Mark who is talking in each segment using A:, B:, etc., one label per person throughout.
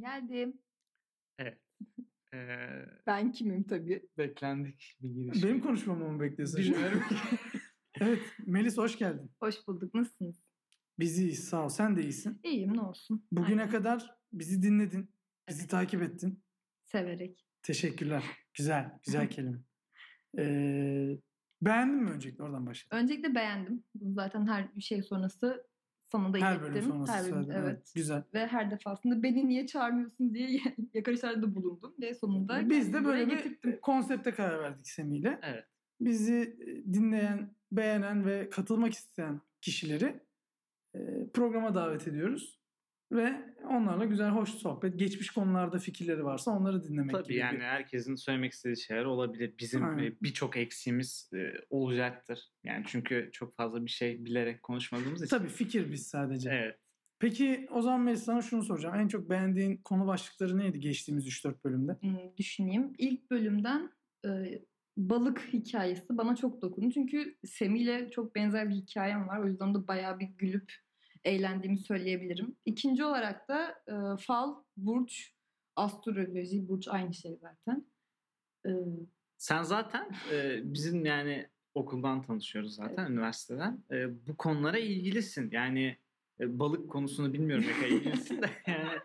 A: geldim.
B: Evet. Eee,
A: Ben kimim tabii.
B: beklendik bir giriş.
C: Benim konuşmamı mı bekliyorsun?
B: Bilmiyorum ki.
C: evet. Melis hoş geldin.
A: Hoş bulduk. Nasılsınız?
C: Biz iyiyiz. Sağ ol. Sen de iyisin.
A: İyiyim ne olsun.
C: Bugüne kadar bizi dinledin. Bizi
A: Evet.
C: takip ettin.
A: Severek.
C: Teşekkürler. Güzel. Güzel kelime. Ee, beğendin mi öncelikle? Oradan başlayalım.
A: Öncelikle beğendim. Bunu zaten her bir şey sonrası sana da
C: Her
A: ilettim.
C: bölüm sonrası
A: her bölüm,
C: söyledin.
A: evet.
C: Güzel.
A: Ve her defasında beni niye çağırmıyorsun diye yakarışlarda bulundum. Ve sonunda
C: Biz de böyle
A: kendimi
C: bir
A: buraya getirdim.
C: konsepte karar verdik Semih'le.
B: Evet.
C: Bizi e, dinleyen, beğenen ve katılmak isteyen kişileri e, programa davet ediyoruz. Ve onlarla güzel, hoş sohbet, geçmiş konularda fikirleri varsa onları dinlemek
B: Tabii
C: gibi
B: yani herkesin söylemek istediği şeyler olabilir. Bizim
C: Aynen.
B: e, birçok eksiğimiz e, olacaktır. Yani çünkü çok fazla bir şey bilerek konuşmadığımız için.
C: Tabii fikir biz sadece.
B: Evet.
C: Peki o zaman Melis sana şunu soracağım. En çok beğendiğin konu başlıkları neydi geçtiğimiz 3-4 bölümde?
A: Hmm, düşüneyim. İlk bölümden e, balık hikayesi bana çok dokundu. Çünkü Semih'le çok benzer bir hikayem var. O yüzden de bayağı bir gülüp eğlendiğimi söyleyebilirim. İkinci olarak da e, fal, burç, astroloji, burç aynı şey zaten. E,
B: Sen zaten e, bizim yani okuldan tanışıyoruz zaten üniversiteden. E, bu konulara ilgilisin. Yani e, balık konusunu bilmiyorum ne kadar ilgilisin de yani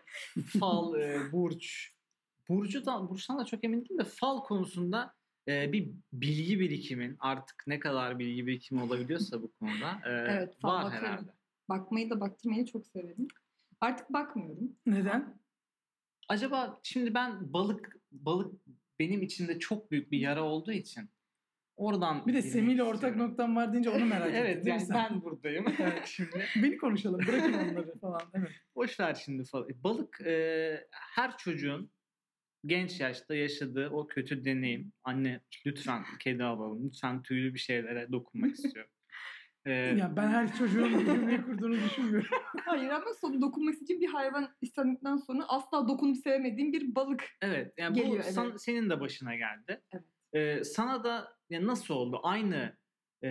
B: fal, e, burç. Burcu da, burçtan da çok emin değilim de fal konusunda e, bir bilgi birikimin artık ne kadar bilgi birikimi olabiliyorsa bu konuda e,
A: Evet, fal
B: var
A: bakarım.
B: herhalde.
A: bakmayı da baktırmayı çok severim. Artık bakmıyorum.
C: Neden?
B: Acaba şimdi ben balık balık benim içinde çok büyük bir yara olduğu için oradan
C: Bir de
B: girmek
C: Semih'le
B: istiyorum.
C: ortak noktam var deyince onu merak ettim.
B: Evet
C: değil mi
B: yani
C: sen?
B: ben buradayım şimdi.
C: Beni konuşalım bırakın onları falan. Evet.
B: Boş ver şimdi falan. E, Balık e, her çocuğun genç yaşta yaşadığı o kötü deneyim. Anne lütfen kedi alalım. Lütfen tüylü bir şeylere dokunmak istiyorum. E,
C: Ya ben her çocuğun bir cümle kurduğunu düşünmüyorum.
A: Hayır ama sonra dokunması için bir hayvan istendikten sonra asla dokunup sevmediğim bir balık.
B: Evet. Yani bu
A: Geliyor,
B: san-
A: evet.
B: senin de başına geldi.
A: Evet.
B: Ee, sana da ya nasıl oldu? Aynı e,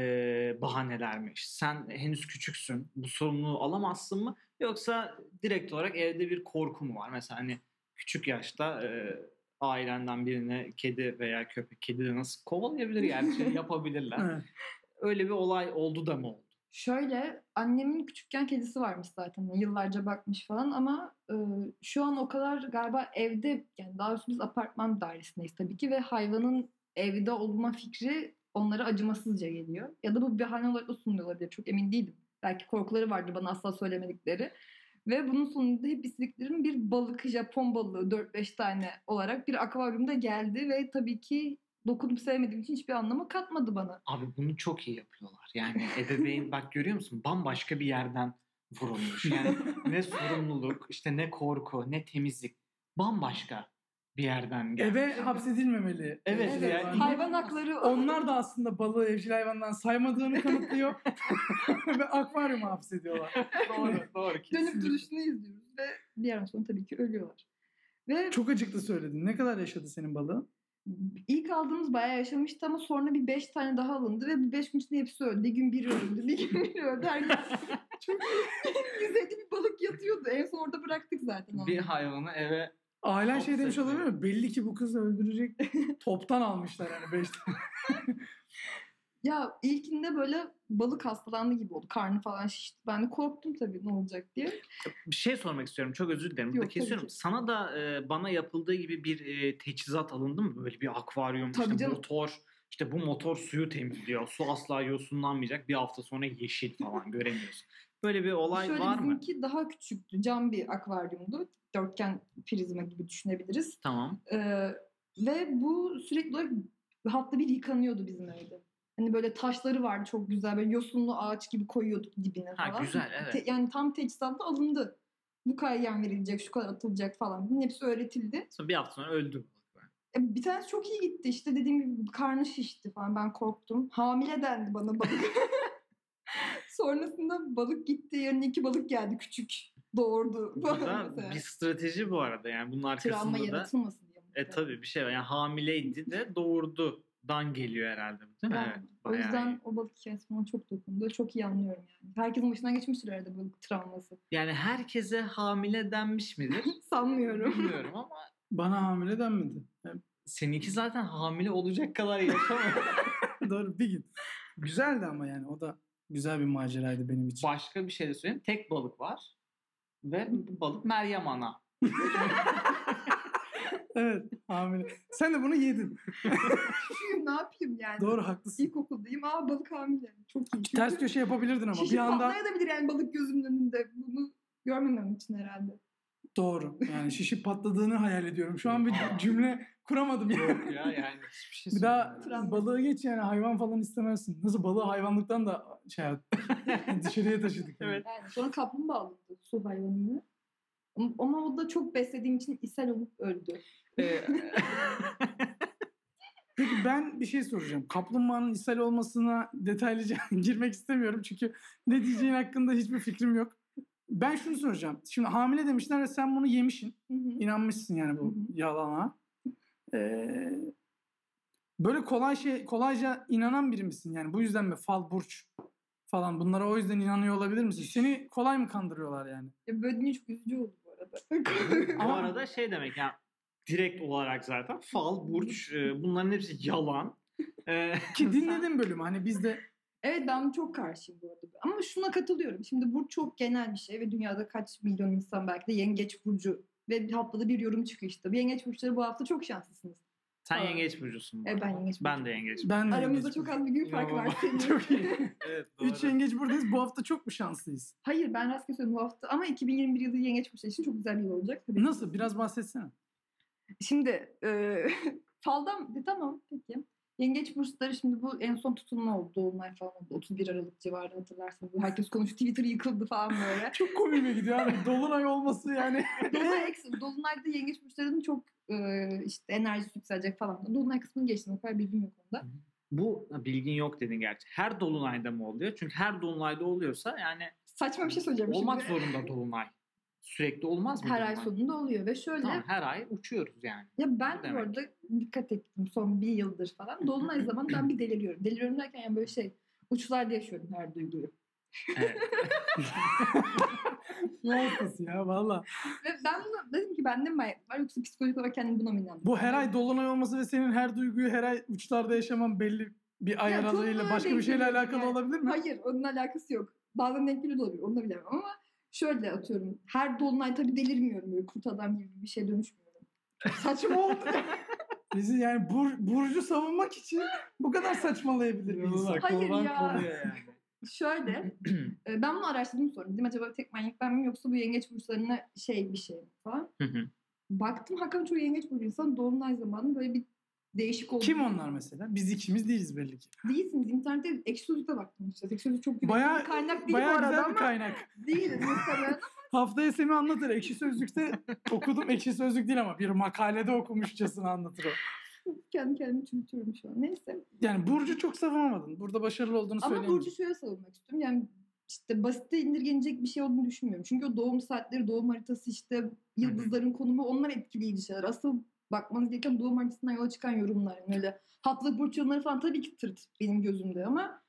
B: bahanelermiş. Sen henüz küçüksün. Bu sorumluluğu alamazsın mı? Yoksa direkt olarak evde bir korku mu var? Mesela hani küçük yaşta e, ailenden birine kedi veya köpek kedi de nasıl kovalayabilir yani şey yapabilirler.
C: Evet.
B: Öyle bir olay oldu da mı oldu?
A: Şöyle annemin küçükken kedisi varmış zaten hani yıllarca bakmış falan ama e, şu an o kadar galiba evde yani daha doğrusu biz apartman dairesindeyiz tabii ki ve hayvanın evde olma fikri onlara acımasızca geliyor. Ya da bu bir bahane olarak da sunuluyor olabilir çok emin değilim. Belki korkuları vardır bana asla söylemedikleri. Ve bunun sonunda hep istediklerim bir balık, Japon balığı 4-5 tane olarak bir akvaryumda geldi ve tabii ki dokunup sevmediğim için hiçbir anlamı katmadı bana.
B: Abi bunu çok iyi yapıyorlar. Yani ebeveyn bak görüyor musun bambaşka bir yerden vurulmuş. Yani ne sorumluluk, işte ne korku, ne temizlik. Bambaşka bir yerden geldi.
C: Eve hapsedilmemeli.
B: Evet,
C: Ee,
B: yani-
A: hayvan hakları
C: Onlar da aslında balığı evcil hayvandan saymadığını kanıtlıyor. Ve akvaryuma hapsediyorlar.
B: doğru, doğru.
A: dönüp
B: kesinlikle.
A: duruşunu izliyoruz ve bir yerden sonra tabii ki ölüyorlar. Ve
C: Çok acıklı söyledin. Ne kadar yaşadı senin balığın?
A: ilk aldığımız bayağı yaşamıştı ama sonra bir beş tane daha alındı ve bu beş gün içinde hepsi öldü. Bir gün biri öldü, bir gün biri öldü. Herkes çok yüzeyde bir balık yatıyordu. En son orada bıraktık zaten onu.
B: Bir hayvanı eve
C: Ailen
B: Çok
C: şey demiş
B: sevdim.
C: olabilir mi? Belli ki bu kızı öldürecek. Toptan almışlar hani beş tane.
A: Ya ilkinde böyle balık hastalandı gibi oldu. Karnı falan şişti. Ben de korktum tabii ne olacak diye.
B: bir şey sormak istiyorum. Çok özür dilerim. Burada
A: Yok, tabii
B: kesiyorum.
A: ki.
B: Sana da e, bana yapıldığı gibi bir e, teçhizat alındı mı? Böyle bir akvaryum,
A: Tabii
B: işte
A: canım.
B: motor, işte bu motor suyu temizliyor. Su asla yosunlanmayacak. Bir hafta sonra yeşil falan göremiyorsun. Böyle bir olay
A: Şöyle
B: var mı?
A: bizimki daha küçüktü. Cam bir akvaryumdu. Dörtgen prizma gibi düşünebiliriz.
B: Tamam.
A: Ee, ve bu sürekli olarak hafta bir yıkanıyordu bizim evde. Hani böyle taşları vardı çok güzel. Böyle yosunlu ağaç gibi koyuyorduk dibine
B: Ha
A: e, falan.
B: güzel evet.
A: Te- yani tam teçhizatla alındı. Bu kadar yem verilecek, şu kadar atılacak falan. Bunun hepsi öğretildi.
B: Sonra bir hafta sonra öldüm.
A: E, bir tanesi çok iyi gitti. İşte dediğim gibi karnı şişti falan. Ben korktum. Hamile dendi bana balık. Sonrasında balık gitti. Yarın iki balık geldi küçük. Doğurdu. falan mesela.
B: Burada bir strateji bu arada yani bunun
A: Travma
B: arkasında da
A: yaratılmasın diye.
B: e tabii bir şey var. Yani hamileydi de doğurdu dan geliyor herhalde değil mi?
A: Ben-
B: evet,
A: O
B: bayağı
A: yüzden
B: iyi.
A: o balık hikayesi bana çok dokundu. Çok iyi anlıyorum yani. Herkesin başına geçmiştir herhalde balık travması.
B: Yani herkese hamile denmiş midir?
A: Sanmıyorum.
B: Bilmiyorum ama
C: Bana hamile denmedi. Yani
B: seninki zaten hamile olacak kadar yaşamıyor.
C: doğru bir gün. Güzeldi ama yani o da güzel bir maceraydı benim için.
B: Başka bir şey de söyleyeyim. Tek balık var. Ve bu balık Meryem Ana.
C: Evet hamile. Sen de bunu yedin.
A: Küçüğüm ne yapayım yani.
C: Doğru haklısın.
A: İlkokuldayım. Aa balık hamile. Çok iyi.
C: Ters köşe yapabilirdin ama
A: Şişi
C: bir anda
A: patlayabilir yani balık gözümün önünde. Bunu görmemem için herhalde.
C: doğru. Yani şişi patladığını hayal ediyorum. Şu an bir
B: Aa.
C: cümle kuramadım yani.
B: Yok ya yani hiçbir şey
C: Bir daha
B: söylemiyorum.
A: Travma.
C: balığı geç yani hayvan falan istemezsin. Nasıl balığı hayvanlıktan da şey yaptık. dışarıya taşıdık. yani.
B: Evet.
A: Yani sonra kaplumbağa alındı su hayvanını. Ama- Ama o da çok beslediğim için ishal olup öldü.
B: Ee,
C: Peki ben bir şey soracağım. Kaplumbağanın ishal olmasına detaylıca girmek istemiyorum. Çünkü ne diyeceğin hakkında hiçbir fikrim yok. Ben şunu soracağım. Şimdi hamile demişler ve sen bunu yemişsin.
A: Hı hı.
C: İnanmışsın yani
A: Hı
C: bu
A: hı.
C: yalana. Ee, böyle kolay şey kolayca inanan biri misin? Yani bu yüzden mi fal burç falan bunlara o yüzden inanıyor olabilir misin? Seni kolay mı kandırıyorlar yani?
A: Ya böyle deyince çok üzücü oldu bu arada.
B: bu
C: Ama-
B: arada şey demek yani direkt olarak zaten fal, burç e, bunların hepsi yalan. Ee,
C: Ki dinledim bölümü. Hani biz de
A: evet ben çok karşıyım bu arada. Ama şuna katılıyorum. Şimdi burç çok genel bir şey ve dünyada kaç milyon insan belki de yengeç burcu ve bir haftada bir yorum çıkıyor işte. Yengeç burçları bu hafta çok şanslısınız.
B: sen
A: Aa.
B: yengeç burcusun. bu
A: E, ben
B: arada.
A: yengeç
B: Ben
A: burcu.
B: de yengeç.
C: ben de
A: Aramızda
C: Hmm, yengeç
A: çok
C: burcu.
A: az bir gün farkı var. senin.
C: Çok iyi.
B: Evet
C: Üç yengeç buradayız. Bu hafta çok mu şanslıyız?
A: Hayır ben rastgele söylüyorum bu hafta ama 2021 yılı yengeç burçları için çok güzel bir yıl olacak. Tabii.
C: Nasıl? Biraz bahsetsene.
A: Şimdi e, faldan e, tamam peki. Yengeç bursları şimdi bu en son tutulma oldu. Dolunay falan oldu. 31 Aralık civarında hatırlarsanız. Herkes konuştu. Twitter yıkıldı falan böyle.
C: Çok komiğime gidiyor abi. Dolunay olması yani.
A: Dolunay, eksi- Dolunay'da yengeç burçlarının çok e, işte enerjisi yükselecek falan. Dolunay kısmını geçtim. O kadar bilgim yok onda.
B: Bu bilgin yok dedin gerçi. Her dolunayda mı oluyor? Çünkü her dolunayda oluyorsa yani
A: Saçma bir şey söyleyeceğim
B: olmak
A: şimdi.
B: zorunda dolunay. Sürekli olmaz mı?
A: Her ay
B: dolunay?
A: sonunda oluyor ve şöyle
B: Tamam, her ay uçuyoruz yani.
A: Ya ben
B: Bu
A: bu
B: demek.
A: arada dikkat ettim son bir yıldır falan. Dolunay zamanı ben bir deliriyorum. Deliriyorum derken yani böyle şey uçlarda yaşıyorum her duyguyu.
B: Evet.
C: ne olması ya valla.
A: Ve ben bunu dedim ki bende mi manyak var yoksa psikolojik olarak kendim buna mı inandım?
C: Bu her ay dolunay olması ve senin her duyguyu her ay uçlarda yaşaman belli bir ay
A: Ya,
C: aralığıyla
A: dolunaya
C: başka bir şeyle
A: denk
C: alakalı
A: geliyor.
C: olabilir mi?
A: Hayır onun alakası yok. Bazen denk geliyor da olabilir onu da bilemem ama şöyle atıyorum. Her dolunay tabii delirmiyorum böyle kurt adam gibi bir şey dönüşmüyorum. Saçma oldu.
C: Bizi yani Bur- Burcu savunmak için bu kadar saçmalayabilir bir insan.
A: Hayır kurban ya. konuyor
B: yani.
A: Şöyle e, ben bunu araştırdım sonra dedim acaba tek manyak ben miyim yoksa bu yengeç burçlarına şey bir şey mi falan. Baktım hakikaten çoğu yengeç burcu insan dolunay zamanı böyle bir değişik oldu.
C: Kim onlar mesela? Biz ikimiz değiliz belli ki.
A: Değilsiniz. İnternette ekşi sözlükte baktım işte. Ekşi sözlük çok güvenli
C: Bayağı-
A: bir kaynak değil bu
C: Bayağı
A: arada
C: güzel bir
A: ama
C: kaynak.
A: değil muhtemelen.
C: Haftaya Semih anlatır. Ekşi Sözlük'te okudum. Ekşi Sözlük değil ama bir makalede okumuşçasına anlatır o.
A: Kendi kendimi çürütüyorum şu an. Neyse.
C: Yani Burcu çok savunamadın. Burada başarılı olduğunu
A: Ama
C: söyleyemeyeceğim.
A: Burcu şöyle savunmak istiyorum. Yani işte basite indirgenecek bir şey olduğunu düşünmüyorum. Çünkü o doğum saatleri, doğum haritası işte yıldızların konumu onlar etkileyici şeyler. Asıl bakmanız gereken doğum haritasından yola çıkan yorumlar. Yani öyle hatlı burç yorumları falan tabii ki tırt benim gözümde ama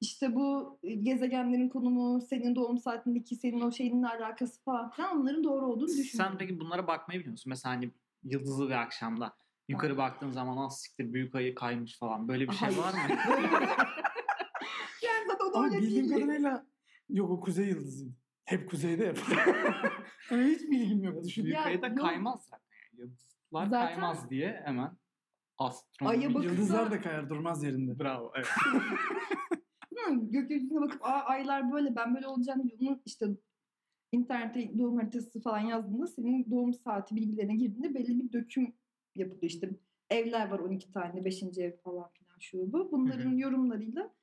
A: işte bu e, gezegenlerin konumu, senin doğum saatindeki senin o şeyinle alakası falan filan onların doğru olduğunu düşünmüyorum.
B: Sen peki bunlara bakmayı biliyor musun? Mesela hani yıldızlı bir akşamda yukarı baktığın zaman az siktir büyük ayı kaymış falan. Böyle bir şey
A: Hayır.
B: var mı?
A: Yani zaten o da
C: Ama
A: öyle
C: bildiğim
A: değil.
C: kadarıyla yok o kuzey yıldızıydı. Hep kuzeyde hep. yani hiç bilgim yok düşün.
B: büyük
A: Ya,
B: ayı da
A: yok.
B: kaymaz zaten. Yani Yıldızlar
A: Zaten-
B: kaymaz diye hemen
A: Ay'a
B: astronomi.
A: bakın.
C: Yıldızlar da kayar durmaz yerinde.
B: Bravo. Evet.
A: Değil mi? Gökyüzüne bakıp Aa, aylar böyle ben böyle olacağım diye onun işte internete doğum haritası falan yazdığında senin doğum saati bilgilerine girdiğinde belli bir döküm yapılıyor. İşte evler var 12 tane 5. ev falan filan şu bu. Bunların yorumlarıyla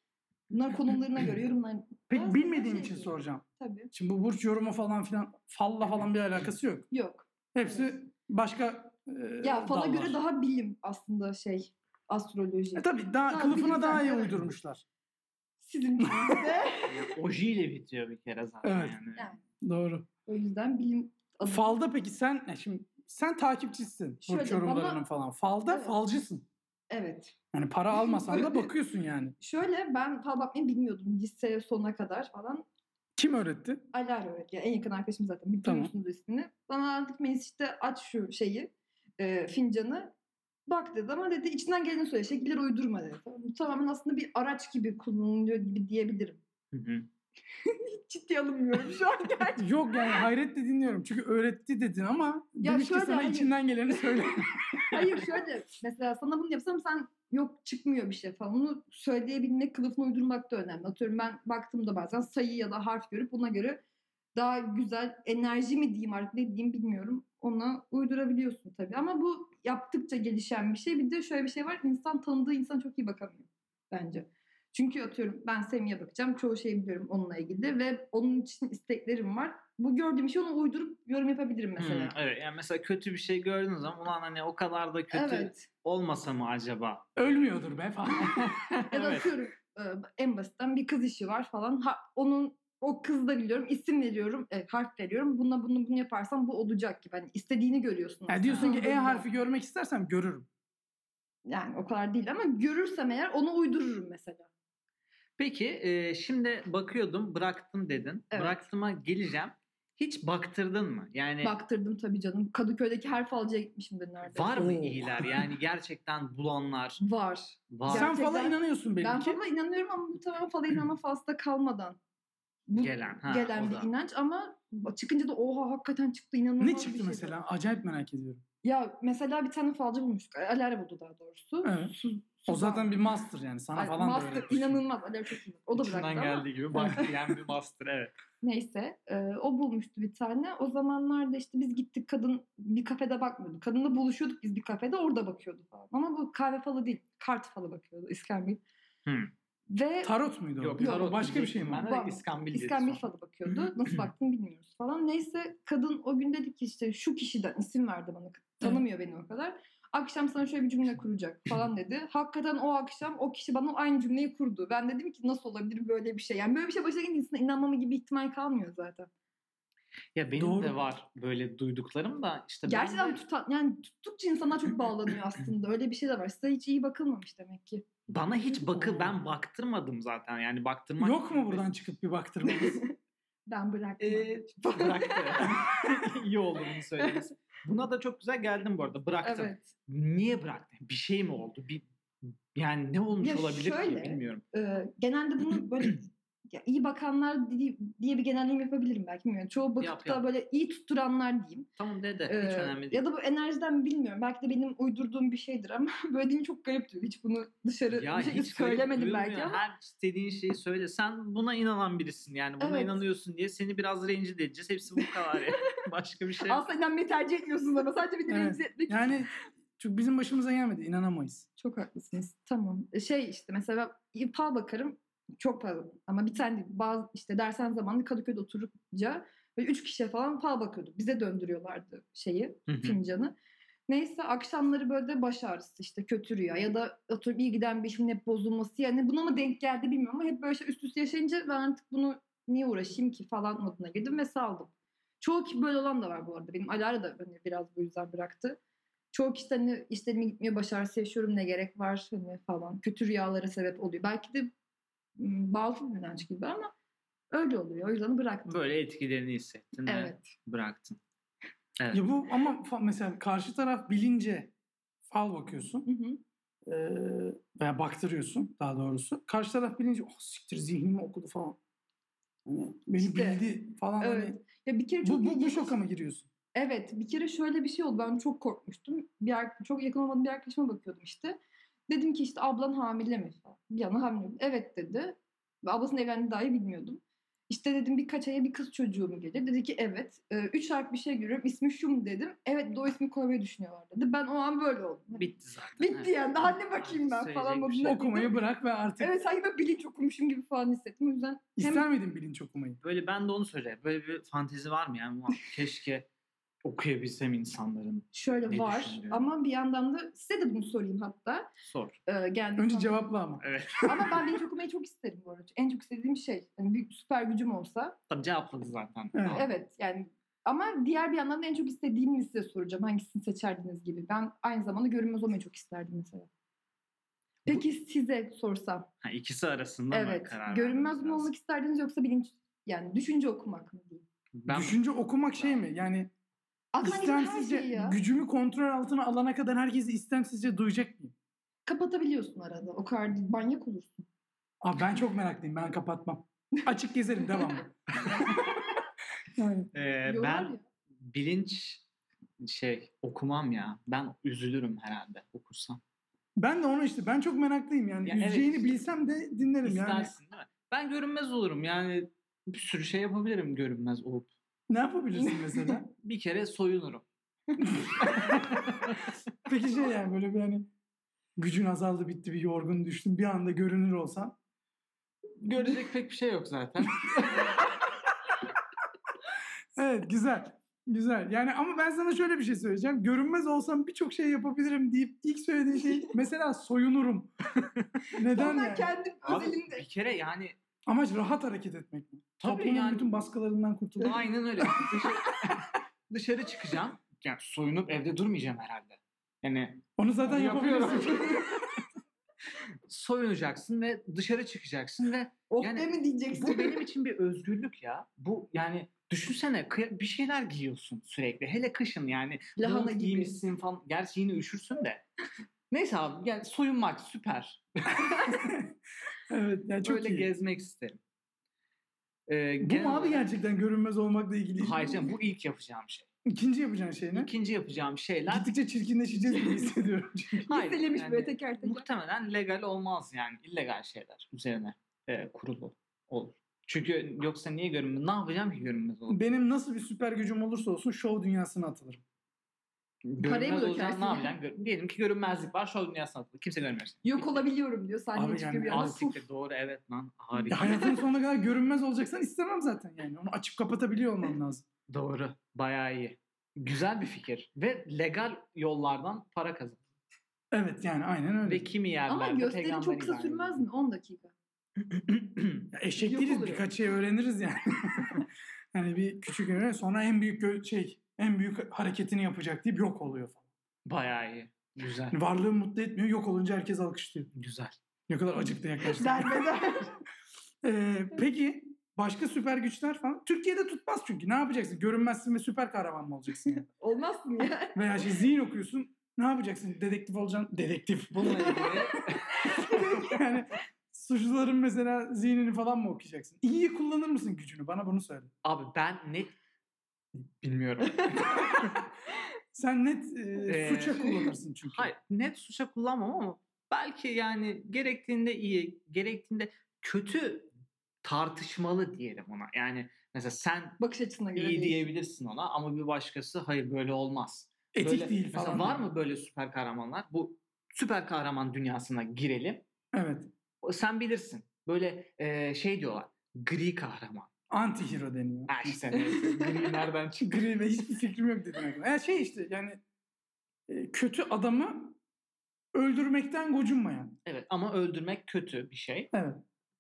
A: bunlar konumlarına göre yorumlar.
C: Pek
A: Biraz
C: bilmediğim
A: şey
C: için
A: gibi.
C: soracağım.
A: Tabii.
C: Şimdi bu burç yorumu falan filan falla falan bir alakası yok.
A: Yok.
C: Hepsi başka e,
A: Ya fala
C: dallar.
A: göre daha bilim aslında şey astroloji.
C: E tabii daha
A: Daha
C: kılıfına
A: bilimsel,
C: daha iyi
A: evet.
C: uydurmuşlar.
A: Sizin de
B: Yani ojiyle bitiyor bir kere zaten
C: Evet.
B: yani.
A: yani
C: Doğru.
A: o yüzden bilim adı-
C: Falda peki sen e şimdi sen takipçisin burç
A: Şöyle,
C: yorumlarının
A: bana-
C: falan. Falda
A: Evet.
C: falcısın.
A: Evet.
C: Yani para almasan da bakıyorsun yani.
A: Şöyle ben fal bakmayı bilmiyordum lise sonuna kadar falan.
C: Kim öğretti?
A: Alar öğretti. Yani en yakın arkadaşım zaten.
C: Tamam.
A: Biliyorsunuz ismini. Bana artık Melis işte aç şu şeyi, e, fincanı. Bak dedi ama dedi içinden geleni söyle. Şekilleri uydurma dedi. Bu tamamen aslında bir araç gibi kullanılıyor gibi diyebilirim.
B: Hı hı.
A: Ciddiye alınmıyorum şu an gerçekten.
C: Yok yani hayretle dinliyorum. Çünkü öğretti dedin ama
A: Ya
C: demek ki
A: şöyle hani-
C: sana
A: hayır.
C: içinden geleni söyle.
A: Hayır şöyle mesela sana bunu yapsam sen yok çıkmıyor bir şey falan. Bunu söyleyebilmek, kılıfını uydurmak da önemli. Atıyorum ben baktığımda bazen sayı ya da harf görüp buna göre daha güzel enerji mi diyeyim artık ne diyeyim bilmiyorum. Ona uydurabiliyorsun tabii ama bu yaptıkça gelişen bir şey. Bir de şöyle bir şey var. insan tanıdığı insan çok iyi bakamıyor bence. Çünkü atıyorum ben Semih'e bakacağım. Çoğu şeyi biliyorum onunla ilgili ve onun için isteklerim var. Bu gördüğüm şey ona uydurup yorum yapabilirim mesela.
B: Hı, evet yani mesela kötü bir şey gördüğün zaman ulan hani o kadar da kötü
A: Evet.
B: olmasa mı acaba?
C: Ölmüyordur be falan.
A: Ya da
B: Evet.
A: atıyorum e, en basitten bir kız işi var falan. Ha, onun o kızı da biliyorum. isim veriyorum. e, harf veriyorum. Buna bunu bunu yaparsan bu olacak gibi. Hani istediğini görüyorsun.
C: Yani
A: aslında.
C: diyorsun ki E
A: Uydurma.
C: harfi görmek istersem görürüm.
A: Yani o kadar değil ama görürsem eğer onu uydururum mesela.
B: Peki e, şimdi bakıyordum bıraktım dedin.
A: Evet.
B: Bıraktıma geleceğim. Hiç baktırdın mı? Yani
A: Baktırdım tabii canım. Kadıköy'deki harf alıcıya gitmişimdir neredeyse.
B: var mı
C: Oo.
B: iyiler? Yani gerçekten bulanlar
A: Var.
B: var.
A: Gerçekten-
C: Sen falan inanıyorsun belli
A: Ben
C: ki.
A: fala inanıyorum ama bu tamamen fala inanma fasla kalmadan. Bu
B: Gelen, ha,
A: gelen
B: o
A: bir
B: da.
A: inanç ama çıkınca da oha hakikaten çıktı inanılmaz
C: Ne
A: bir
C: çıktı
A: şey.
C: mesela? Acayip merak ediyorum.
A: Ya mesela bir tane falcı bulmuştuk. Aler buldu daha doğrusu.
C: Evet.
A: Su-
C: O
A: su-
C: zaten bir master yani. Sana
A: Ay,
C: falan da şey.
A: master,
C: öğretmiş.
A: inanılmaz. Aler çok iyi. O da bıraktı
B: İçinden
A: ama
B: geldiği gibi bak diyen bir bastır evet.
A: neyse. e, o bulmuştu bir tane. O zamanlarda işte biz gittik kadın bir kafede bakmıyordu. Kadınla buluşuyorduk biz bir kafede orada bakıyordu falan. Ama bu kahve falı değil. Kart falı bakıyordu İskambil.
B: Hmm.
A: Ve
C: Tarot muydu o?
B: Yok,
A: Yok,
B: tarot
C: başka bir şey mi?
B: diyecektim
A: Var
B: Ben
A: mı?
B: de İskambil dedi
A: İskambil
B: sonra.
A: falı bakıyordu. Nasıl baktığını bilmiyoruz falan. Neyse kadın o gün dedi ki işte şu kişiden isim verdi bana. Tanımıyor beni o kadar. Akşam sana şöyle bir cümle kuracak falan dedi. Hakikaten o akşam o kişi bana o aynı cümleyi kurdu. Ben dedim ki nasıl olabilir böyle bir şey? Yani böyle bir şey başına gelince insana inanmama gibi ihtimal kalmıyor zaten.
B: Ya benim
C: Doğru.
B: de var böyle duyduklarım da işte ben
A: Gerçekten
B: de-
A: tutan, yani tuttukça insana çok bağlanıyor aslında. Öyle bir şey de var. Size hiç iyi bakılmamış demek ki.
B: bana hiç bakı ben baktırmadım zaten yani baktırmak
C: Yok mu buradan çıkıp bir baktırmamız?
A: Ben bıraktım.
B: Ee, bıraktı. İyi oldu bunu söylemesi. Buna da çok güzel geldim bu arada. Bıraktım.
A: evet.
B: Niye bıraktın? Bir şey mi oldu? Bir yani ne olmuş
A: Ya
B: olabilir
A: şöyle,
B: ki bilmiyorum.
A: Ee, genelde bunu böyle ya iyi bakanlar di- diye bir genelleme yapabilirim belki bilmiyorum. Çoğu bakıp
B: Yap,
A: da
B: yap.
A: böyle iyi tutturanlar diyeyim.
B: Tamam dede
A: Ee,
B: hiç önemli değil.
A: ya da bu enerjiden mi bilmiyorum. Belki de benim uydurduğum bir şeydir ama böyle deyince çok garip duyuyor. Hiç bunu dışarı bir şey
B: hiç
A: söylemedim
B: garip
A: belki
B: duyulmuyor.
A: ama
B: Her istediğin şeyi söyle. Sen buna inanan birisin yani. Buna
A: Evet.
B: inanıyorsun diye seni biraz rencide edeceğiz. Hepsi bu kadar yani. Başka bir şey yok.
A: aslında inanmayı tercih etmiyorsunuz ama sadece beni
C: Evet.
A: rencide etmek için.
C: yani çünkü bizim başımıza gelmedi. inanamayız.
A: Çok haklısınız. Tamam. E, Şey işte mesela fal bakarım. Çok fazla ama bir tane değil. Bazı işte dersen zamanı Kadıköy'de oturunca böyle üç kişiye falan fal bakıyorduk. Bize döndürüyorlardı şeyi.
B: Hı hı.
A: fincanı. Neyse akşamları böyle de baş ağrısı işte kötü rüya ya da atıyorum iyi giden bir işin hep bozulması yani buna mı denk geldi bilmiyorum ama hep böyle şey üst üste yaşayınca ben artık bunu niye uğraşayım ki falan moduna girdim ve saldım. Çoğu ki böyle olan da var bu arada. Benim Alara da hani biraz bu yüzden bıraktı. Çoğu kişi de hani işlerime gitmiyor, baş ağrısı yaşıyorum ne gerek var hani falan. Kötü rüyalara sebep oluyor. Belki de m, bağlı bir inanç gibi ama öyle oluyor. O yüzden bıraktım.
B: Böyle etkilerini hissettin ve
A: Evet.
B: bıraktın. Evet.
C: Ya bu ama fa- mesela karşı taraf bilince fal bakıyorsun
A: Hı hı.
C: ee, veya baktırıyorsun daha doğrusu. Karşı taraf bilince oh siktir zihnimi okudu falan. Hani beni
A: İşte,
C: bildi falan. hani.
A: evet. Ya bir kere çok
C: bu, bu, bu
A: ilginç-
C: şoka mı giriyorsun?
A: Evet bir kere şöyle bir şey oldu ben çok korkmuştum. Bir ar- çok yakın olmadığım bir arkadaşıma bakıyordum işte. Dedim ki işte ablan hamile mi falan. Bir yana hamile. mi? Evet dedi. Ve ablasının evlendiğini dahi bilmiyordum. İşte dedim birkaç aya bir kız çocuğu mu gelir? Dedi ki evet. Ee, üç harf bir şey görüyorum. İsmi şu mu dedim. Evet bir de o ismi koymayı düşünüyorlar dedi. Ben o an böyle oldum. Hani,
B: Bitti zaten.
A: Bitti
B: evet.
A: yani. Daha ne bakayım ben
B: Söyleyecek
A: falan
B: bir
A: modunda.
B: şey yok.
C: Okumayı bırak ve artık
A: Evet sanki ben bilinç okumuşum gibi falan hissettim. O yüzden hem
C: ister miydin bilinç okumayı?
B: Böyle ben de onu söyleyeyim. Böyle bir fantezi var mı yani? Ulan Keşke okuyabilsem insanların.
A: şöyle
B: Ne
A: var
B: düşünüyorum?
A: ama bir yandan da size de bunu sorayım hatta.
B: Sor.
A: Ee, geldi
C: Önce
A: sonra-
C: cevapla ama.
B: Evet.
A: Ama ben bilinç okumayı çok isterim bu arada. En çok istediğim şey. Yani bir süper gücüm olsa.
B: Tabii cevapladı zaten.
C: Evet.
B: Tamam.
A: Evet yani ama diğer bir yandan da en çok istediğimi size soracağım. Hangisini seçerdiniz gibi. Ben aynı zamanda görünmez olmayı çok isterdim mesela. Peki size sorsam.
B: Ha, ikisi arasında mı
A: Evet.
B: karar
A: Görünmez
B: vermek
A: mi
B: lazım?
A: olmak isterdiniz yoksa bilinç yani düşünce okumak mı? diyeyim?
B: Ben
C: Düşünce okumak şey mi? Yani
A: Aklıma gelen her
C: istemsizce
A: şeyi ya.
C: gücümü kontrol altına alana kadar herkesi istemsizce duyacak mıyım?
A: Kapatabiliyorsun arada. O kadar değil, manyak olursun.
C: Abi ben çok meraklıyım. Ben kapatmam. Açık gezerim devam. yani,
B: Ee,
A: Yorar
B: ben
A: ya.
B: bilinç şey okumam ya. Ben üzülürüm herhalde okursam.
C: ben de onu işte ben çok meraklıyım yani.
B: Ya evet
C: Üzeceğini
B: işte.
C: bilsem de dinlerim yani.
B: İstersin değil mi? Ben görünmez olurum yani bir sürü şey yapabilirim görünmez olup.
C: Ne yapabilirsin mesela?
B: Bir kere soyunurum.
C: Peki şey yani böyle bir hani gücün azaldı bitti bir yorgun düştün bir anda görünür olsan.
B: Görecek pek bir şey yok zaten.
C: Evet güzel. Güzel. Yani ama ben sana şöyle bir şey söyleyeceğim. Görünmez olsam birçok şey yapabilirim deyip ilk söylediğin şey mesela soyunurum.
B: E,
C: Neden
A: Sonra
C: yani?
A: kendim
B: Abi,
A: özelinde.
B: bir kere yani
C: Amaç rahat hareket etmek mi?
B: Tabii
C: Toplumun
B: yani.
C: bütün baskılarından kurtulmak.
B: aynen öyle. Dışarı, dışarı çıkacağım. Yani soyunup evde durmayacağım herhalde. Yani
C: Onu zaten
B: Yapıyorum.
C: yapabilirsin.
B: soyunacaksın ve dışarı çıkacaksın ve
A: Oh
B: yani-
A: be mi diyeceksin?
B: Bu benim için bir özgürlük ya. Bu yani düşünsene kıya- bir şeyler giyiyorsun sürekli. Hele kışın yani.
A: Lahana
B: Mont
A: gibi.
B: giymişsin falan. Gerçi yine üşürsün de. Neyse abi yani soyunmak süper.
C: evet yani çok
B: Böyle
C: iyi.
B: gezmek isterim. Ee,
C: bu
B: genel
C: mu abi
B: olarak-
C: gerçekten görünmez olmakla ilgili?
B: Hayır canım, bu ilk yapacağım şey.
C: İkinci yapacağın şey ne?
B: İkinci yapacağım şeyler.
C: Gittikçe çirkinleşeceğiz gibi hissediyorum. çünkü.
B: Hayır,
A: Listelemiş
B: yani-
A: böyle teker teker.
B: Muhtemelen legal olmaz yani. illegal şeyler üzerine e, kurulu olur. Çünkü yoksa niye görünmez? Ne yapacağım ki görünmez olup?
C: Benim nasıl bir süper gücüm olursa olsun şov dünyasına atılırım.
A: Parayı mı
B: Görünmez olacağım
A: dökersin
B: ne
A: yani?
B: yapacaksın? Gör- Diyelim ki görünmezlik var. Şov dünyasına atıldı. Kimse görmüyor. seni.
A: Yok olabiliyorum diyor sahneye
C: Abi
A: çıkıyor
C: yani
A: bir anda.
B: Az
A: Puf.
B: siktir doğru evet lan.
C: Ya
B: Harika.
C: hayatın sonuna kadar görünmez olacaksan istemem zaten yani. Onu açıp kapatabiliyor olmam lazım.
B: doğru. Bayağı iyi. Güzel bir fikir. Ve legal yollardan para kazan.
C: Evet yani aynen öyle.
B: Ve kimi yerlerde
A: Ama gösteri
B: peygamber
A: çok kısa
B: ilan
A: sürmez
B: edildi.
A: mi? 10 dakika.
C: Ya eşek
A: Yok
C: değiliz
A: oluyor.
C: birkaç şey öğreniriz yani. hani bir küçük öğren sonra en büyük gö- şey en büyük hareketini yapacak deyip yok oluyor falan.
B: Bayağı iyi. Güzel.
C: Yani varlığı mutlu etmiyor yok olunca herkes alkışlıyor.
B: Güzel.
C: Ne kadar acıklı yaklaştık.
A: Derbeder.
C: Ee, peki başka süper güçler falan. Türkiye'de tutmaz çünkü. Ne yapacaksın? Görünmezsin ve süper kahraman mı olacaksın? yani?
A: Olmazsın ya.
C: Veya şey zihin okuyorsun. Ne yapacaksın? Dedektif olacaksın. Dedektif.
B: Bununla ilgili
C: yani suçluların mesela zihnini falan mı okuyacaksın? İyiye kullanır mısın gücünü? Bana bunu söyle.
B: abi ben net bilmiyorum.
C: Sen net e,
B: Ee,
C: suça kullanırsın çünkü.
B: Hayır net suça kullanmam ama belki yani gerektiğinde iyi, gerektiğinde kötü tartışmalı diyelim ona. Yani mesela sen
A: Bakış açısına göre
B: iyi
A: değil.
B: diyebilirsin ona ama bir başkası hayır böyle olmaz.
C: Etik
B: Böyle-
C: değil
B: mesela
C: falan.
B: var mı böyle süper kahramanlar? Bu süper kahraman dünyasına girelim.
C: Evet.
B: O- Sen bilirsin. Böyle e, şey diyorlar. Gri kahraman.
C: Antihero deniyor.
B: Ha işte neyse, gri nereden çıktı?
C: Gri ve hiçbir fikrim yok dedim. aklıma. Yani şey işte yani e, kötü adamı öldürmekten gocunmayan.
B: Evet ama öldürmek kötü bir şey.
C: Evet.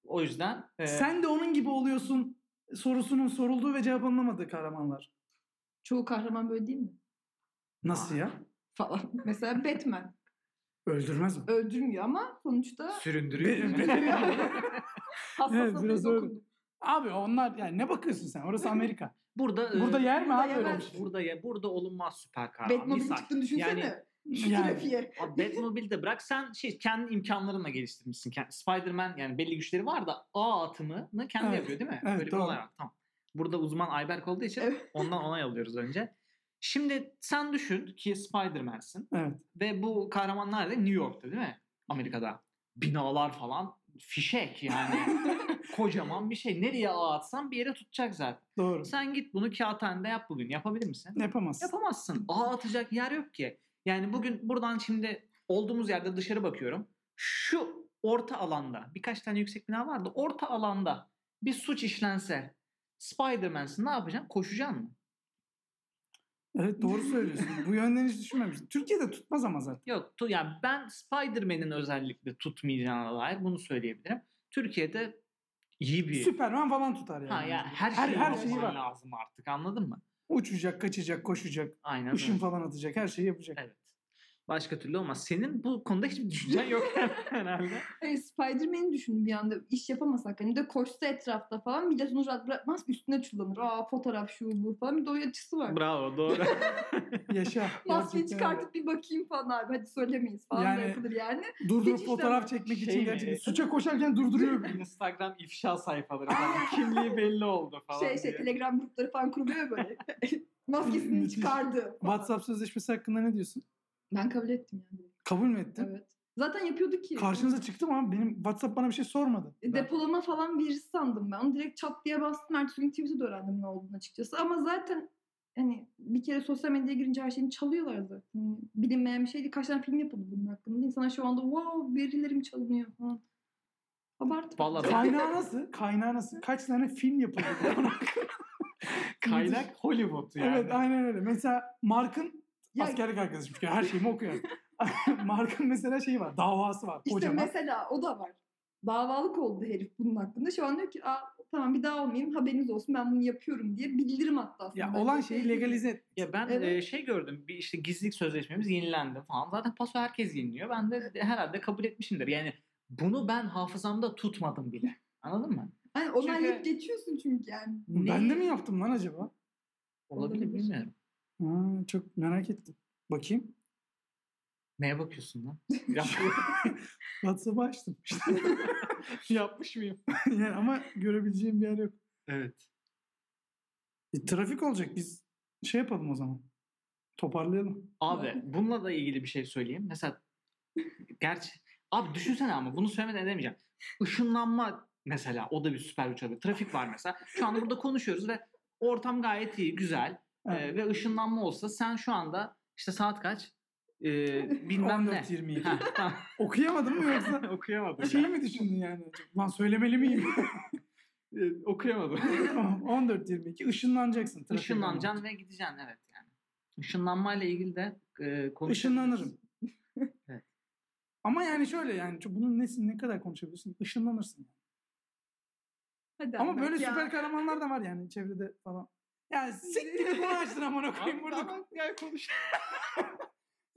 B: O yüzden e,
C: Sen de onun gibi oluyorsun sorusunun sorulduğu ve cevaplanamadığı kahramanlar.
A: Çoğu kahraman böyle değil mi?
C: Nasıl ya?
A: Falan. Mesela Batman.
C: Öldürmez mi?
A: Öldürmüyor ama sonuçta
B: süründürüyor.
C: Be-
B: yani.
C: be-
A: hassas
C: Evet,
A: noktaya
C: biraz öyle.
A: dokundu.
C: Abi onlar yani ne bakıyorsun sen? Orası Amerika.
B: burada e,
C: Burada yer mi
A: burada
C: abi öyle bir
A: yemez.
C: şey?
B: burada ya burada olunmaz süper kahraman.
A: Batmobile
B: Misal.
A: çıktığını düşünsene.
B: Yani
A: Şu
C: Yani.
A: trafiğe.
B: Abi Batmobile de bırak sen şey kendi imkanlarınla geliştirmişsin. Kend- Spider-Man yani belli güçleri var da A atımını kendi
C: Evet.
B: yapıyor değil mi?
C: Evet,
B: Böyle bir
C: doğru.
B: olay var. Tamam. Burada uzman Ayberk olduğu için
A: Evet.
B: ondan onay alıyoruz önce. Şimdi sen düşün ki Spider-Man'sin
C: Evet.
B: ve bu kahramanlar nerede? New York'ta değil mi? Amerika'da. Binalar falan fişek yani. Kocaman bir şey. Nereye ağ atsan bir yere tutacak zaten.
C: Doğru.
B: Sen git bunu kağıthanede yap bugün. Yapabilir misin?
C: Yapamazsın.
B: Yapamazsın. Ağ atacak yer yok ki. Yani bugün buradan şimdi olduğumuz yerde dışarı bakıyorum. Şu orta alanda birkaç tane yüksek bina vardı. Orta alanda bir suç işlense Spider-Man'sin ne yapacaksın? Koşacaksın mı?
C: Evet doğru söylüyorsun. Bu yönden hiç düşünmemiştim. Türkiye'de tutmaz ama zaten.
B: Yok. Tu, yani ben Spider-Man'in özellikle tutmayacağına dair bunu söyleyebilirim. Türkiye'de iyi bir...
C: Superman falan tutar yani.
B: Ha, yani her,
C: Her-
B: şeyi
C: her
B: yapman
C: şeyi var.
B: lazım artık anladın mı?
C: Uçacak, kaçacak, koşacak,
B: Aynen
C: ışın
B: öyle.
C: falan atacak, her şeyi yapacak.
B: Evet. Başka türlü olmaz. Senin bu konuda hiçbir düşüncen yok herhalde.
A: Hani Spider-Man'i düşündüm bir anda. İş yapamasak hani de koşsa etrafta falan millet onu rahat bırakmaz üstüne çullanır. Aa fotoğraf şu bu falan bir de o açısı var.
B: Bravo doğru.
C: Yaşa.
A: Maskeyi
C: Gerçekten.
A: çıkartıp bir bakayım falan abi. Hadi söylemeyiz falan
C: Yani-
A: da yapılır yani.
C: Durdurup
A: Hiç işlem-
C: fotoğraf çekmek
B: Şey
C: için
B: mi?
C: gerçekten suça koşarken durduruyor. beni.
B: Instagram ifşa sayfaları falan. Kimliği belli oldu falan
A: şey şey
B: diye.
A: telegram grupları falan kuruluyor böyle. Maskesini
C: Müthiş.
A: çıkardı.
C: WhatsApp sözleşmesi hakkında ne diyorsun?
A: Ben kabul ettim yani.
C: Kabul mü ettin?
A: Evet. Zaten yapıyordu ki.
C: Karşınıza çıktım ama benim WhatsApp bana bir şey sormadı.
A: E, Depolama falan virüs sandım ben. Onu direkt çat diye bastım. Ertesi gün Twitter'da öğrendim ne olduğunu açıkçası. Ama zaten hani bir kere sosyal medyaya girince her şeyini çalıyorlardı. Hani bilinmeyen bir şeydi. Kaç tane film yapıldı bunun hakkında. İnsanlar şu anda wow verilerim çalınıyor falan. Abartma.
B: Vallahi ben-
C: Kaynağı nasıl? Kaynağı nasıl? Kaç tane film yapıldı?
B: Kaynak Hollywood yani.
C: Evet aynen öyle. Mesela Mark'ın
A: Ya-
C: askerlik arkadaşım çünkü her şeyimi okuyor. Mark'ın mesela şeyi var, davası var.
A: İşte
C: kocaman.
A: mesela o da var. Davalık oldu herif bunun hakkında. Şu an diyor ki Aa, tamam bir daha olmayayım haberiniz olsun ben bunu yapıyorum diye bildirim hatta. aslında.
C: ya
A: Ben
C: olan
A: de
C: şeyi
A: şey-
C: legalize et.
B: Ya ben
A: Evet.
B: e, şey gördüm. Bir işte gizlilik sözleşmemiz yenilendi falan. Zaten paso herkes yeniliyor. Ben de herhalde kabul etmişimdir. Yani bunu ben hafızamda tutmadım bile. Anladın mı?
A: Hani onaylayıp
B: Çünkü-
A: geçiyorsun çünkü yani.
C: Ben de mi yaptım lan acaba?
B: Olabilir
A: Olabilir.
B: bilmiyorum.
C: Ha, çok merak ettim. Bakayım.
B: Neye bakıyorsun lan? Yap-
C: WhatsApp'ı açtım. İşte
B: Yapmış mıyım?
C: yani ama görebileceğim bir yer yok.
B: Evet.
C: E, trafik olacak. Biz şey yapalım o zaman. Toparlayalım.
B: Abi bununla da ilgili bir şey söyleyeyim. Mesela gerçi abi düşünsene ama bunu söylemeden edemeyeceğim. Işınlanma mesela o da bir süper güç olabilir. Trafik var mesela. Şu anda burada konuşuyoruz ve ortam gayet iyi, güzel. Ee,
C: Evet.
B: ve ışınlanma olsa sen şu anda işte saat kaç? Ee, bilmem ne.
C: 14.27.
B: Ha, tamam.
C: Okuyamadım mı yoksa?
B: okuyamadım.
C: Şeyi mi düşündün yani? Lan söylemeli miyim?
B: Ee, okuyamadım.
C: tamam. 14.22 ışınlanacaksın. e, trafik
B: Işınlanacaksın ve gideceksin evet yani. Işınlanmayla ilgili de e, konuşabiliriz.
C: Işınlanırım.
B: Evet.
C: Ama yani şöyle yani çok- bunun nesin ne kadar konuşabiliyorsun? Işınlanırsın.
A: Hadi
C: Ama
A: abi,
C: böyle
A: bak ya.
C: süper kahramanlar da var yani çevrede falan. Yani siktir bir konu açtın amına koyayım burada.
B: Tamam, gel konuş.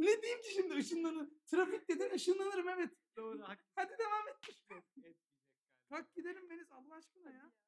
C: Ne diyeyim ki şimdi ışınlanır. Trafik dedin ışınlanırım evet.
B: Doğru, haklısın.
C: Hadi devam et. Kalk gidelim Deniz Allah aşkına ya.